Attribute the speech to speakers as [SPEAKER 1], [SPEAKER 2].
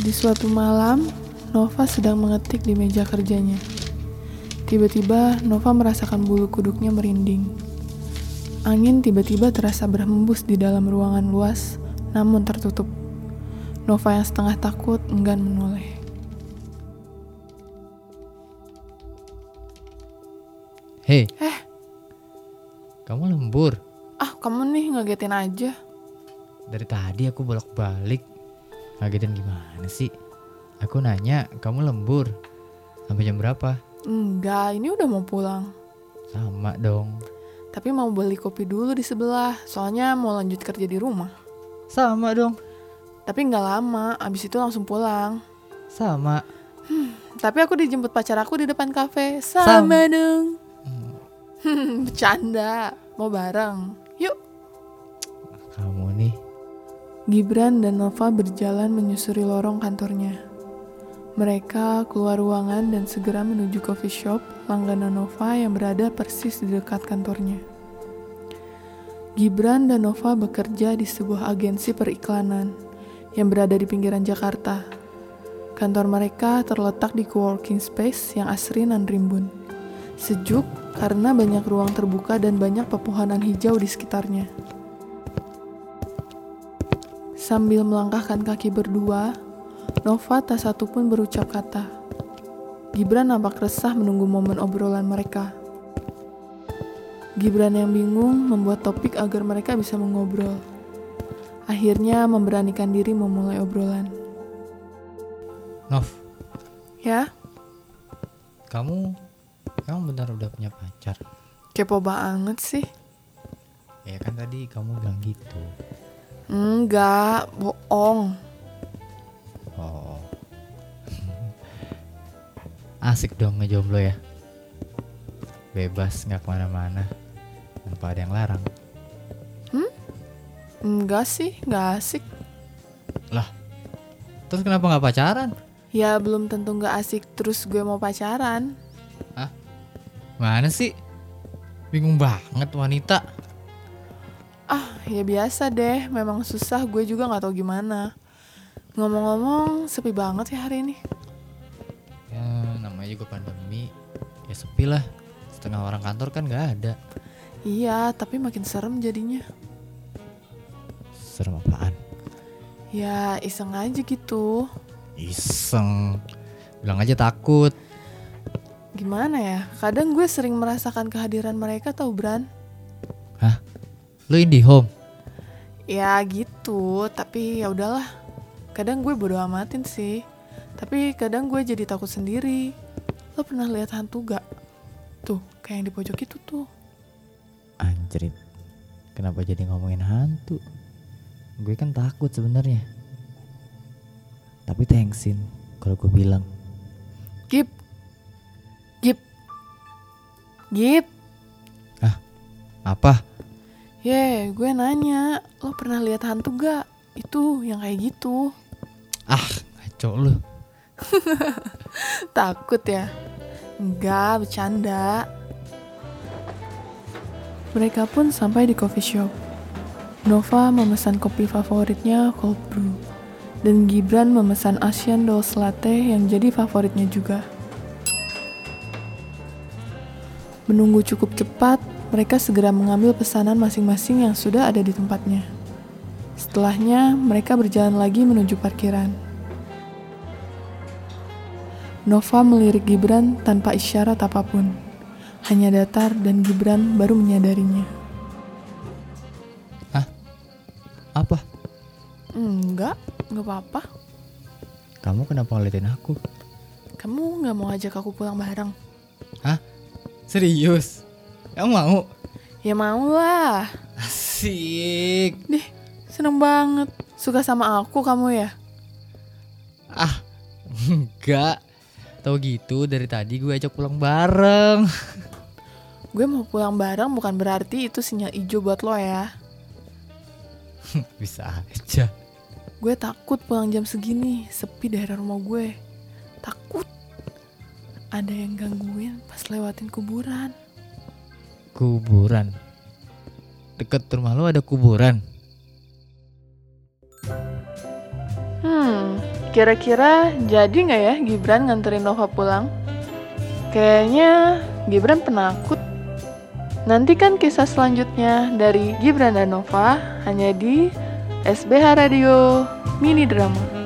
[SPEAKER 1] Di suatu malam, Nova sedang mengetik di meja kerjanya. Tiba-tiba, Nova merasakan bulu kuduknya merinding. Angin tiba-tiba terasa berhembus di dalam ruangan luas, namun tertutup. Nova yang setengah takut enggan menoleh.
[SPEAKER 2] Hei,
[SPEAKER 1] Eh,
[SPEAKER 2] kamu lembur.
[SPEAKER 1] ah kamu nih ngagetin aja.
[SPEAKER 2] Dari tadi aku bolak-balik. Ngagetin gimana sih? Aku nanya, kamu lembur. Sampai jam berapa?
[SPEAKER 1] Enggak, ini udah mau pulang.
[SPEAKER 2] Sama dong.
[SPEAKER 1] Tapi mau beli kopi dulu di sebelah, soalnya mau lanjut kerja di rumah.
[SPEAKER 2] Sama dong.
[SPEAKER 1] Tapi nggak lama, abis itu langsung pulang.
[SPEAKER 2] Sama.
[SPEAKER 1] Tapi aku dijemput pacar aku di depan kafe.
[SPEAKER 2] Sam.
[SPEAKER 1] Sama dong. Hmm, Bercanda, mau bareng. Yuk.
[SPEAKER 2] Kamu nih.
[SPEAKER 1] Gibran dan Nova berjalan menyusuri lorong kantornya. Mereka keluar ruangan dan segera menuju coffee shop langganan Nova yang berada persis di dekat kantornya. Gibran dan Nova bekerja di sebuah agensi periklanan yang berada di pinggiran Jakarta. Kantor mereka terletak di co-working space yang asri dan rimbun. Sejuk karena banyak ruang terbuka dan banyak pepohonan hijau di sekitarnya. Sambil melangkahkan kaki berdua, Nova tak satu pun berucap kata. Gibran nampak resah menunggu momen obrolan mereka. Gibran yang bingung membuat topik agar mereka bisa mengobrol. Akhirnya memberanikan diri memulai obrolan.
[SPEAKER 2] Nov,
[SPEAKER 1] Ya,
[SPEAKER 2] kamu emang benar udah punya pacar?
[SPEAKER 1] kepo banget sih.
[SPEAKER 2] Ya kan tadi kamu bilang gitu.
[SPEAKER 1] Enggak, bohong.
[SPEAKER 2] Oh. Asik dong ngejomblo ya. Bebas nggak kemana-mana. Tanpa ada yang larang.
[SPEAKER 1] Enggak sih, enggak asik.
[SPEAKER 2] Terus kenapa nggak pacaran?
[SPEAKER 1] Ya belum tentu enggak asik terus gue mau pacaran.
[SPEAKER 2] Mana sih? Bingung banget wanita.
[SPEAKER 1] Ah, ya biasa deh. Memang susah. Gue juga nggak tahu gimana. Ngomong-ngomong, sepi banget ya hari ini.
[SPEAKER 2] Ya namanya juga pandemi. Ya sepi lah. Setengah orang kantor kan nggak ada.
[SPEAKER 1] Iya, tapi makin serem jadinya.
[SPEAKER 2] Serem apaan?
[SPEAKER 1] Ya, iseng aja gitu.
[SPEAKER 2] Iseng. Bilang aja takut.
[SPEAKER 1] Gimana ya? Kadang gue sering merasakan kehadiran mereka tau, Bran.
[SPEAKER 2] Lu indie home.
[SPEAKER 1] Ya gitu, tapi ya udahlah. Kadang gue bodo amatin sih. Tapi kadang gue jadi takut sendiri. Lo pernah lihat hantu gak? Tuh, kayak yang di pojok itu tuh.
[SPEAKER 2] Anjrit. Kenapa jadi ngomongin hantu? Gue kan takut sebenarnya. Tapi thanksin kalau gue bilang.
[SPEAKER 1] Gip. Gip. Gip.
[SPEAKER 2] Apa?
[SPEAKER 1] Ye, gue nanya, lo pernah lihat hantu gak? Itu yang kayak gitu.
[SPEAKER 2] Ah, Ngaco lu.
[SPEAKER 1] Takut ya? Enggak, bercanda. Mereka pun sampai di coffee shop. Nova memesan kopi favoritnya cold brew. Dan Gibran memesan Asian Dolce Latte yang jadi favoritnya juga. Menunggu cukup cepat, mereka segera mengambil pesanan masing-masing yang sudah ada di tempatnya. Setelahnya, mereka berjalan lagi menuju parkiran. Nova melirik Gibran tanpa isyarat apapun. Hanya datar dan Gibran baru menyadarinya.
[SPEAKER 2] Apa?
[SPEAKER 1] Enggak, enggak apa-apa.
[SPEAKER 2] Kamu kenapa ngeliatin aku?
[SPEAKER 1] Kamu enggak mau ajak aku pulang bareng?
[SPEAKER 2] Serius? Kamu mau?
[SPEAKER 1] Ya mau lah.
[SPEAKER 2] Asik.
[SPEAKER 1] Seneng banget. Suka sama aku kamu ya?
[SPEAKER 2] Ah, enggak. Tau gitu dari tadi gue ajak pulang bareng.
[SPEAKER 1] Gue mau pulang bareng bukan berarti itu sinyal ijo buat lo ya.
[SPEAKER 2] Bisa aja.
[SPEAKER 1] Gue takut pulang jam segini, sepi daerah rumah gue. Takut ada yang gangguin pas lewatin kuburan.
[SPEAKER 2] Kuburan. Deket rumah lu ada kuburan.
[SPEAKER 1] Hmm, Kira-kira jadi nggak ya Gibran nganterin Nova pulang? Kayaknya Gibran penakut. Nantikan kisah selanjutnya dari Gibran dan Nova hanya di SBH Radio Mini Drama.